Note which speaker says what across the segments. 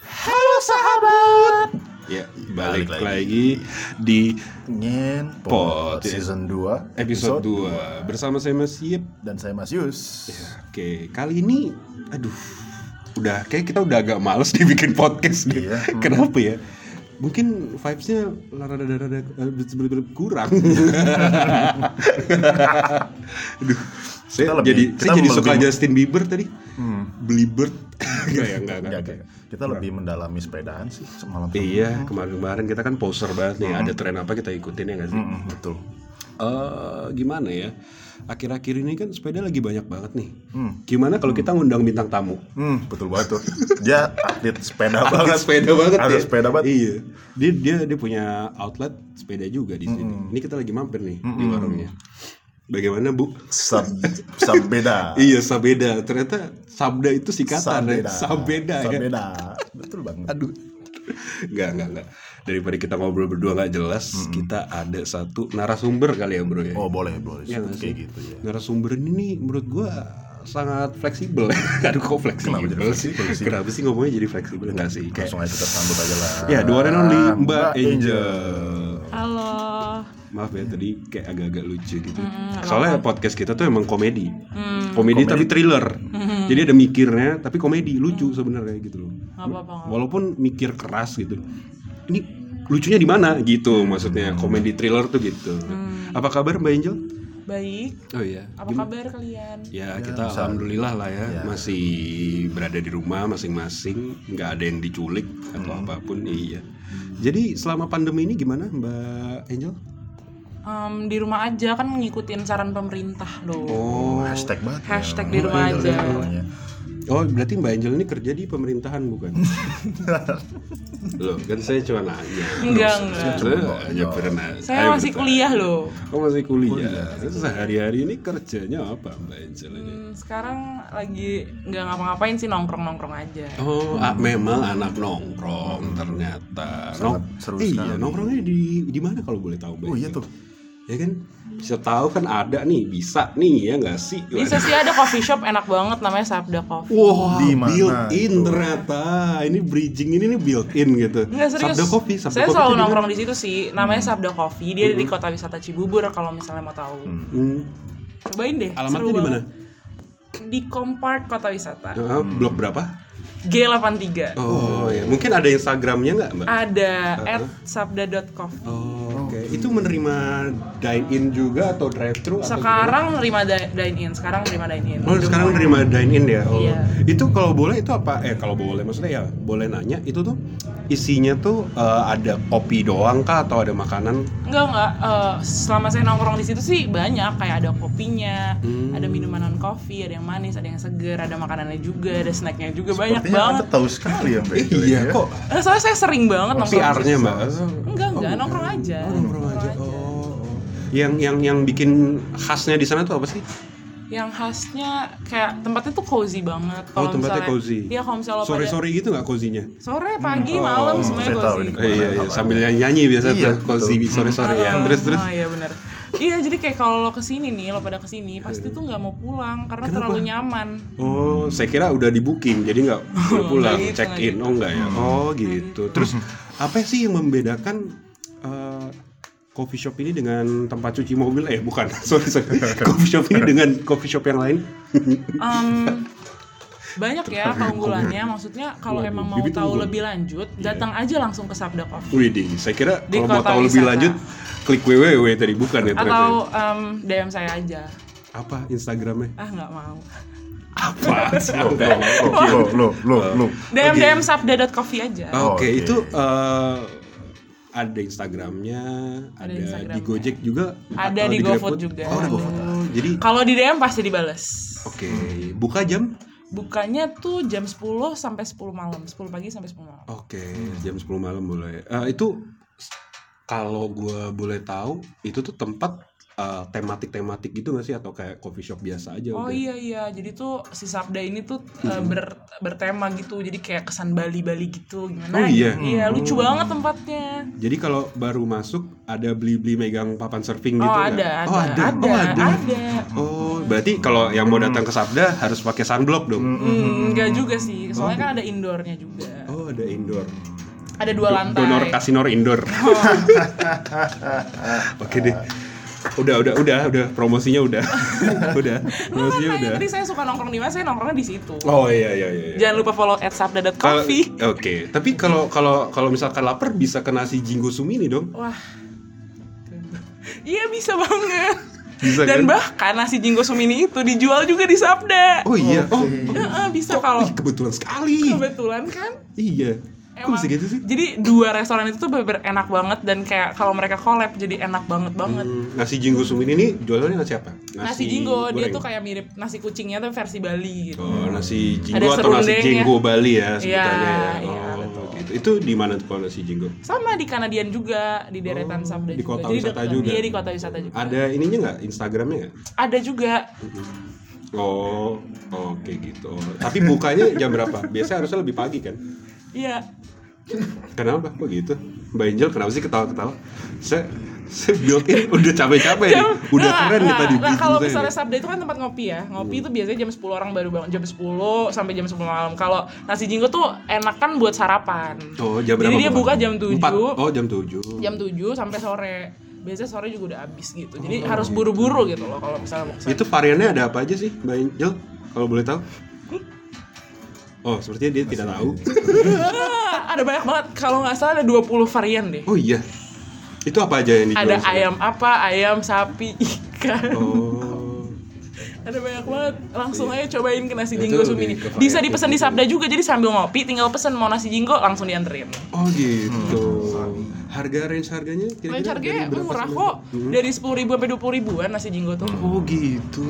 Speaker 1: Halo sahabat.
Speaker 2: Ya,
Speaker 1: Balik
Speaker 2: balik,
Speaker 1: lagi.
Speaker 2: lagi. di
Speaker 1: Ngenpot
Speaker 2: Pod, ya.
Speaker 1: season 2
Speaker 2: episode Iya. 2 bersama saya Mas Yip.
Speaker 1: 2 dan saya Mas Yus.
Speaker 2: Oke, kali ini aduh udah kayak kita udah agak males dibikin podcast deh.
Speaker 1: Iya.
Speaker 2: Kenapa ya? Mungkin vibes-nya rada-rada eh, kurang. aduh,
Speaker 1: Kita
Speaker 2: saya
Speaker 1: lebih-
Speaker 2: jadi
Speaker 1: kita
Speaker 2: saya jadi suka
Speaker 1: lebih-
Speaker 2: Justin Bieber tadi.
Speaker 1: Hmm.
Speaker 2: Bieber. Enggak ya, enggak, enggak.
Speaker 1: Enggak, enggak. Kita lebih mendalami sepedaan sih semalam.
Speaker 2: Iya, kemarin-kemarin kita kan poser banget
Speaker 1: Hmm.
Speaker 2: nih, ada tren apa kita ikutin ya nggak sih?
Speaker 1: Mm-mm, betul.
Speaker 2: eh gimana ya? Akhir-akhir ini kan sepeda lagi banyak banget nih.
Speaker 1: Hmm.
Speaker 2: Gimana kalau kita ngundang bintang tamu?
Speaker 1: Hmm, betul banget tuh. Dia atlet sepeda
Speaker 2: Atlet
Speaker 1: banget.
Speaker 2: sepeda banget
Speaker 1: Atlet sepeda banget.
Speaker 2: Iya. Dia dia dia punya outlet sepeda juga di sini.
Speaker 1: Hmm.
Speaker 2: Ini kita lagi mampir nih di warungnya. Bagaimana, Bu?
Speaker 1: Sab, sabeda.
Speaker 2: Iya, sabeda. Ternyata sabda itu singkatan ya.
Speaker 1: Ah. Sabeda.
Speaker 2: Sabeda ya.
Speaker 1: Sabeda. Betul banget.
Speaker 2: Aduh. Enggak, enggak, enggak. Daripada kita ngobrol berdua nggak jelas, kita ada satu narasumber kali ya, Bro ya.
Speaker 1: Hmm. Oh, boleh, boleh.
Speaker 2: Iya nggak sih?
Speaker 1: Kayak gitu ya.
Speaker 2: Narasumber ini nih, menurut gua sangat fleksibel. Aduh kok fleksibel
Speaker 1: Kenapa jadi
Speaker 2: sih?
Speaker 1: fleksibel sih?
Speaker 2: Kenapa sih ngomongnya jadi fleksibel enggak sih? Kayak
Speaker 1: Langsung aja kita sambut aja lah.
Speaker 2: ya the one and only Mbak Angel.
Speaker 3: Halo.
Speaker 2: Maaf ya tadi kayak agak-agak lucu gitu. Soalnya podcast kita tuh emang komedi.
Speaker 3: Mm.
Speaker 2: Komedi, tapi thriller. Jadi ada mikirnya tapi komedi, lucu sebenarnya gitu loh.
Speaker 3: Nggak apa-apa, nggak
Speaker 2: Walaupun mikir keras gitu. Ini lucunya di mana gitu maksudnya komedi thriller tuh gitu. Apa kabar Mbak Angel?
Speaker 3: Baik.
Speaker 2: Oh iya.
Speaker 3: Mm. Apa kabar kalian?
Speaker 2: Ya, kita alhamdulillah lah ya, masih berada di rumah masing-masing, nggak ada yang diculik atau apapun. Iya. Jadi selama pandemi ini gimana Mbak Angel?
Speaker 3: Em, di rumah aja kan ngikutin saran pemerintah dong.
Speaker 2: Oh,
Speaker 1: Hashtag banget. ya.
Speaker 3: Hashtag di rumah
Speaker 1: Angel
Speaker 3: aja.
Speaker 1: ya namanya.
Speaker 2: oh berarti Mbak Angel ini kerja di pemerintahan bukan? Loh, kan saya cuma nanya.
Speaker 3: Enggak, enggak.
Speaker 2: Saya hanya pernah.
Speaker 3: Saya masih kuliah loh.
Speaker 2: Oh masih kuliah. Sehari-hari ini kerjanya apa Mbak Angel ini?
Speaker 3: Hmm, sekarang lagi nggak ngapa-ngapain sih nongkrong-nongkrong aja.
Speaker 2: Oh, ah, memang anak nongkrong ternyata.
Speaker 1: Sangat seru sekali.
Speaker 2: iya, nongkrongnya di di mana kalau boleh tahu? Mbak?
Speaker 1: Oh iya tuh.
Speaker 2: Ya kan? Bisa tahu kan ada nih, bisa nih ya nggak sih?
Speaker 3: Bisa sih ada coffee shop enak banget namanya Sabda Coffee.
Speaker 2: Wah,
Speaker 1: Di mana
Speaker 2: built in
Speaker 1: itu?
Speaker 2: ternyata. Ini bridging ini nih built in gitu.
Speaker 3: Enggak serius.
Speaker 2: Sabda kopi, sabda
Speaker 3: Saya
Speaker 2: kopi.
Speaker 3: selalu
Speaker 2: tuh di Hmm.
Speaker 3: nongkrong di situ sih. Namanya Sabda Coffee. Dia ada di Kota Wisata Cibubur kalau misalnya mau tahu.
Speaker 2: mana? Hmm.
Speaker 3: Cobain deh.
Speaker 2: Alamatnya
Speaker 3: seru
Speaker 2: di mana?
Speaker 3: banget. Di Kompark Kota Wisata.
Speaker 2: Ah,
Speaker 1: Hmm.
Speaker 2: blok berapa?
Speaker 3: G83.
Speaker 2: Oh, ya. Mungkin ada Instagramnya nggak,
Speaker 1: Ah.
Speaker 2: Mbak?
Speaker 3: Ada at sabda.coffee.
Speaker 2: Oh, Oke, itu menerima dine in juga atau drive thru atau
Speaker 3: sekarang nerima di- dine in sekarang nerima dine in
Speaker 2: Oh sekarang nerima dine in ya? Oh.
Speaker 3: Iya.
Speaker 2: Itu kalau boleh itu apa? Eh kalau boleh maksudnya ya boleh nanya itu tuh isinya tuh eh, ada kopi doang kah atau ada makanan?
Speaker 3: enggak enggak eh, selama saya nongkrong di situ sih banyak kayak ada kopinya
Speaker 2: Hmm.
Speaker 3: ada minuman non kopi ada yang manis ada yang seger ada makanannya juga ada snacknya juga banyak
Speaker 1: Sepertinya Anda
Speaker 3: banget
Speaker 1: tahu sekali ya, Mbak. Angel ya.
Speaker 2: Iya, kok
Speaker 3: Eh, soalnya saya sering banget nongkrong
Speaker 2: PR-nya mbak?
Speaker 3: enggak enggak nongkrong aja
Speaker 2: Oh, Nongkrong aja. Oh. Yang yang yang bikin khasnya di sana tuh apa sih?
Speaker 3: yang khasnya kayak tempatnya tuh cozy banget
Speaker 2: Oh
Speaker 3: kalau
Speaker 2: tempatnya
Speaker 3: misalnya-
Speaker 2: cozy.
Speaker 3: iya kalau misalnya lo
Speaker 2: sore
Speaker 3: pada-
Speaker 2: sore gitu nggak cozy-nya?
Speaker 3: sore pagi malam semuanya
Speaker 1: saya tahu
Speaker 3: cozy
Speaker 1: ini.
Speaker 2: Eh, iya, iya, sambil nyanyi biasa
Speaker 1: Iya,
Speaker 2: tuh cozy sore sore ya.
Speaker 3: Ah,
Speaker 2: Terus terus.
Speaker 3: ah, iya benar. Iya, jadi kayak kalau lo kesini nih, lo pada kesini, pasti tuh nggak mau pulang karena terlalu nyaman.
Speaker 2: Oh, saya kira udah di booking, jadi nggak boleh pulang,
Speaker 3: nggak gitu, Hmm.
Speaker 2: check
Speaker 3: nggak
Speaker 2: in, oh nggak ya? Oh gitu. Terus apa sih yang membedakan eh, coffee shop ini dengan tempat cuci mobil? Eh bukan, sorry sorry. coffee shop ini dengan coffee shop yang lain?
Speaker 3: Em, banyak ya keunggulannya. Maksudnya kalau
Speaker 2: Waduh,
Speaker 3: emang mau
Speaker 2: bibit Iya.
Speaker 3: tahu
Speaker 2: unggul.
Speaker 3: lebih lanjut, datang aja langsung ke Sabda Coffee
Speaker 2: Widih, saya kira
Speaker 3: Di
Speaker 2: kalau mau
Speaker 3: kota
Speaker 2: tahu lebih
Speaker 3: wisata.
Speaker 2: lanjut klik www tadi bukan ya ternyata ya?
Speaker 3: atau em, DM saya aja.
Speaker 2: apa Instagramnya?
Speaker 3: Ah nggak mau.
Speaker 2: Apa? sih?
Speaker 3: Oh,
Speaker 1: Lo, lo, lo, lo.
Speaker 3: DM DM sabda.coffee aja.
Speaker 2: Oke,
Speaker 1: Oke.
Speaker 2: itu eh, ada Instagramnya, ada,
Speaker 3: Instagramnya.
Speaker 2: di Gojek juga,
Speaker 3: Ada
Speaker 2: atau
Speaker 3: di GoFood
Speaker 2: GrabFood?
Speaker 3: juga.
Speaker 2: Oh, ada GoFood. Jadi,
Speaker 3: Kalau di DM pasti dibales.
Speaker 2: oke, buka jam?
Speaker 3: Bukanya tuh jam 10 sampai 10 malam, 10 pagi sampai 10 malam.
Speaker 2: Oke, jam 10 malam boleh. Eh, itu s- kalau gue boleh tahu, itu tuh tempat eh, tematik-tematik gitu nggak sih atau kayak coffee shop biasa aja?
Speaker 3: Oh
Speaker 2: udah?
Speaker 3: iya iya, jadi tuh si Sabda ini tuh eh, ber- bertema gitu, jadi kayak kesan Bali-Bali gitu gimana?
Speaker 2: Oh, iya?
Speaker 3: gitu. Iya lucu banget tempatnya.
Speaker 2: Jadi kalau baru masuk ada beli-beli megang papan surfing
Speaker 3: Oh,
Speaker 2: gitu nggak?
Speaker 3: ada, ada,
Speaker 2: Oh ada,
Speaker 3: ada,
Speaker 2: oh ada.
Speaker 3: ada.
Speaker 2: Oh berarti kalau yang mau datang ke Sabda harus pakai sunblock dong.
Speaker 3: Hmm, enggak juga sih, soalnya kan ada indoornya juga.
Speaker 2: Oh ada indoor.
Speaker 3: Ada dua lantai.
Speaker 2: Oh. Donor kasinor indoor. Oke deh. Udah udah udah udah promosinya udah. udah.
Speaker 3: Lu kan
Speaker 2: Promosinya Iya,
Speaker 3: nanya
Speaker 2: udah.
Speaker 3: tadi saya suka nongkrong di mana, saya nongkrongnya di situ.
Speaker 2: Oh iya iya iya. iya.
Speaker 3: Jangan lupa follow
Speaker 2: Kalau-
Speaker 3: @sabda.coffee.
Speaker 2: Oke, tapi kalau kalau kalau misalkan lapar bisa ke nasi jinggo sumini dong.
Speaker 3: Wah. Iya bisa banget.
Speaker 2: Bisa,
Speaker 3: Dan
Speaker 2: kan?
Speaker 3: bahkan nasi jinggo sumini itu dijual juga di Sabda.
Speaker 2: Oh iya, oh.
Speaker 3: Heeh, bisa
Speaker 2: kok-
Speaker 3: kalau
Speaker 2: ih, kebetulan sekali.
Speaker 3: iya. kebetulan kan.
Speaker 2: Iya. Kok bisa gitu sih?
Speaker 3: Jadi dua restoran itu tuh bener enak banget dan kayak kalau mereka collab jadi enak banget banget.
Speaker 2: Hmm, Nasi jinggo sumini ini jualannya nasi apa?
Speaker 3: Nasi, jinggo dia
Speaker 2: goreng.
Speaker 3: tuh kayak mirip nasi kucingnya tapi versi Bali gitu.
Speaker 2: Oh, nasi
Speaker 3: Ada
Speaker 2: jinggo atau nasi
Speaker 3: serundeng
Speaker 2: jinggo Bali ya sebutannya
Speaker 3: Iya,
Speaker 2: ya.
Speaker 3: iya,
Speaker 2: Oh,
Speaker 3: betul.
Speaker 2: gitu. Itu di mana tuh kalau nasi jinggo?
Speaker 3: Sama di Kanadian juga, di
Speaker 2: Oh,
Speaker 3: deretan Sabda
Speaker 2: di
Speaker 3: juga.
Speaker 2: kota
Speaker 3: Jadi
Speaker 2: wisata
Speaker 3: dekat-
Speaker 2: juga. Ah.
Speaker 3: Iya di kota wisata juga. Ada,
Speaker 2: Ada ininya nggak? Instagramnya nggak?
Speaker 3: juga.
Speaker 2: Oh, oke gitu. Oh, Tapi bukanya jam berapa? Biasanya harusnya lebih pagi kan?
Speaker 3: Iya.
Speaker 2: Kenapa? Kok gitu? Mbak Angel kenapa sih ketawa-ketawa? Saya saya built in udah capek-capek nih. Eh, Udah
Speaker 3: Nah,
Speaker 2: keren nih tadi Hmm.
Speaker 3: nah, nah,
Speaker 2: briefing
Speaker 3: kalau
Speaker 2: saya
Speaker 3: misalnya
Speaker 2: nih.
Speaker 3: Sabda itu kan tempat ngopi ya. Ngopi itu biasanya jam 10 orang baru bangun, jam 10 sampai jam 10 malam. Kalau nasi jinggo tuh enak kan buat sarapan.
Speaker 2: Oh, jam berapa?
Speaker 3: Jadi dia
Speaker 2: Pak?
Speaker 3: buka jam Iya. 7.
Speaker 2: Empat. Oh, jam 7.
Speaker 3: jam 7 sampai sore. Biasanya sore juga udah habis gitu. Jadi harus buru-buru gitu loh kalau misalnya mau kesana.
Speaker 2: Oh. Itu variannya ada apa aja sih, Mbak Angel? Kalau boleh tahu?
Speaker 3: Hmm?
Speaker 2: Oh, sepertinya dia tidak tahu.
Speaker 3: Ah, ada banyak banget. Kalau nggak salah ada 20 varian deh.
Speaker 2: Oh iya. Itu apa aja yang dijual?
Speaker 3: Ada
Speaker 2: di sana?
Speaker 3: ayam apa, ayam sapi, ikan.
Speaker 2: Oh.
Speaker 3: Ada banyak banget. Langsung aja cobain ke nasi
Speaker 2: Itu
Speaker 3: jinggo Sumini.
Speaker 2: lebih ke variatif
Speaker 3: Bisa dipesan di
Speaker 2: gitu.
Speaker 3: Sabda juga. Jadi sambil ngopi tinggal pesan mau nasi jinggo langsung dianterin.
Speaker 2: Oh gitu. Harga range harganya kira-kira
Speaker 3: Range harganya
Speaker 2: dari berapa
Speaker 3: murah
Speaker 2: sampai-
Speaker 3: kok.
Speaker 2: Hmm.
Speaker 3: Dari 10 ribu sampai 20 ribuan nasi jinggo tuh.
Speaker 2: Oh gitu.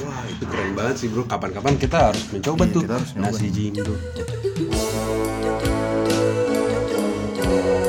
Speaker 2: Wah, itu keren banget sih, Bro. Kapan-kapan kita harus mencoba
Speaker 1: Iya,
Speaker 2: tuh
Speaker 1: kita harus nyoba.
Speaker 2: nasi jinggo.
Speaker 4: Thank you.